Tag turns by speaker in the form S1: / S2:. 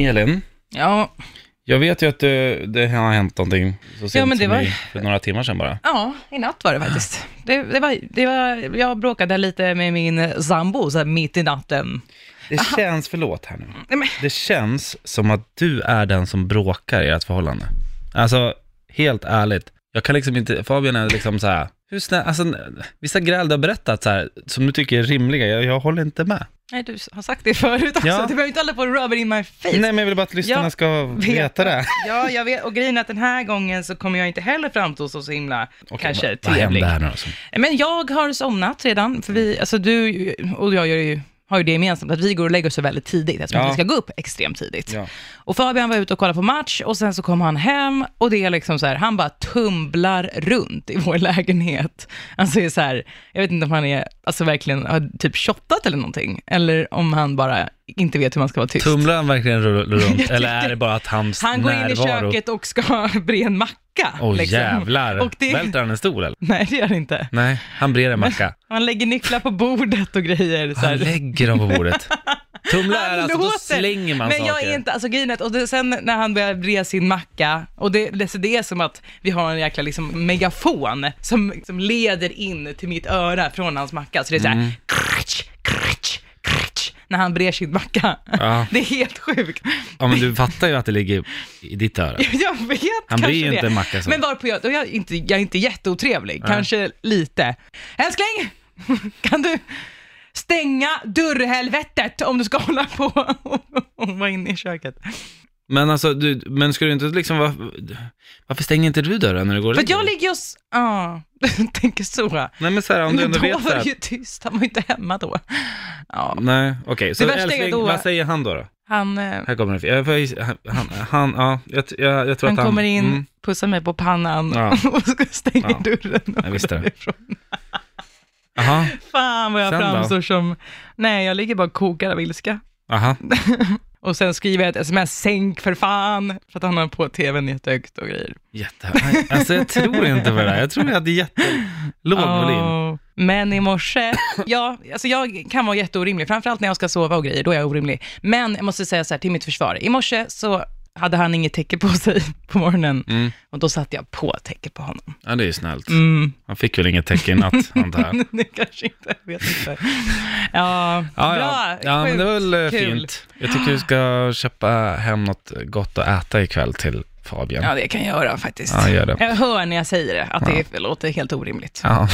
S1: Elin,
S2: Ja,
S1: jag vet ju att det, det har hänt någonting så sent
S2: men det
S1: som
S2: var-
S1: i, för några timmar sedan bara.
S2: ja, i natt var det faktiskt. Det, det var, det var, jag bråkade lite med min sambo så här, mitt i natten.
S1: Det känns, förlåt här nu,
S2: Nej, men,
S1: det känns som att du är den som bråkar i ert förhållande. Alltså, helt ärligt, jag kan liksom inte, Fabian är liksom så här, hur snäll, alltså vissa gräl du har berättat så här, som du tycker är rimliga, jag, jag håller inte med.
S2: nej, du har sagt det förut också,
S1: Ja.
S2: du behöver inte hålla på och rubber in my face.
S1: Nej men jag vill bara att lyssnarna
S2: Jag
S1: ska veta det.
S2: Ja, jag vet, och grejen är att den här gången så kommer jag inte heller framstå som så himla kanske
S1: vad, vad
S2: trevlig.
S1: hände här nu alltså?
S2: Men jag har somnat redan, för vi, alltså du och jag gör ju, har ju det gemensamt, att vi går och lägger oss så väldigt tidigt, eftersom
S1: Ja.
S2: vi ska gå upp extremt tidigt.
S1: Ja.
S2: Och Fabian var ute och kollade på match och sen så kom han hem och det är liksom så här, han bara tumlar runt i vår lägenhet. Alltså det är så här, jag vet inte om han är, alltså verkligen har typ shottat eller någonting, eller om han bara inte vet hur man ska vara tyst.
S1: Tumlar han verkligen rull- runt, eller är det bara att hans
S2: han går in i
S1: närvaro-
S2: köket och ska bre en macka. liksom.
S1: Åh jävlar,
S2: Och det,
S1: välter han en stol eller?
S2: nej, det gör han inte.
S1: Nej, han brer en macka.
S2: Han lägger nycklar på bordet och grejer. Så
S1: Han
S2: här.
S1: lägger dem på bordet. Tumlar är alltså, då
S2: låter-
S1: slänger man
S2: Men
S1: saker.
S2: jag är inte, alltså grejen är att- och det, sen när han börjar bre sin macka, och det, det, det är som att vi har en jäkla liksom megafon som, som leder in till mitt öra från hans macka, så det är såhär, mm. kratsch, kratsch, kratsch, när han brer sin macka.
S1: Ja.
S2: Det är helt sjukt.
S1: Ja men du fattar ju att det ligger i ditt öra.
S2: Jag vet
S1: Han blir
S2: kanske
S1: ju
S2: det.
S1: inte en macka så.
S2: Men varpå jag, och jag, är inte, jag är inte jätteotrevlig, kanske lite. Älskling, kan du stänga dörrhelvetet om du ska hålla på och vara inne i köket?
S1: Men alltså, du, men ska du inte liksom, var, varför stänger inte du dörren när du går och
S2: För att jag
S1: dig?
S2: ligger och... s- Ja, jag tänker så.
S1: Nej men så här, om du
S2: Men
S1: ändå
S2: då
S1: vet så
S2: var
S1: här.
S2: det ju tyst, han var ju inte hemma då. Ja,
S1: Nej, okej. Så
S2: Det värsta är
S1: älskling,
S2: då-
S1: vad säger han då? då?
S2: han, eh,
S1: Här kommer en jag, får- han, han, han, ja, jag, jag, jag tror
S2: han
S1: att han...
S2: kommer in,
S1: mm,
S2: pussar mig på pannan
S1: Ja.
S2: och ska- stänger
S1: Ja.
S2: dörren och
S1: Jag visste det.
S2: går därifrån.
S1: Aha,
S2: Fan vad jag
S1: Sen då?
S2: framstår som... Nej, jag ligger bara och kokar av ilska.
S1: aha.
S2: Och sen skriver jag ett sms, sänk för fan, för att han har på tvn jättehögt och grejer.
S1: Jätte... Alltså jag tror inte på det där. Jag tror jag hade jättelåg volym.
S2: Åh. Men i morse, ja, alltså jag kan vara jätteorimlig, framförallt när jag ska sova och grejer, då är jag orimlig. Men jag måste säga så här till mitt försvar, i morse så hade han inget täcke på sig på morgonen
S1: Mm.
S2: och då satte jag på täcke på honom.
S1: Ja, det är ju snällt.
S2: Mm.
S1: Han fick väl inget täcke i natt, antar jag.
S2: det kanske inte, jag vet inte. Ja,
S1: Ja,
S2: bra,
S1: ja. ja men det var väl eh,
S2: Kul.
S1: fint. Jag tycker du ska köpa hem något gott att äta ikväll till Fabian.
S2: ja, det kan jag göra faktiskt.
S1: Ja, gör det.
S2: Jag hör när jag säger det, att det låter helt orimligt.
S1: Ja.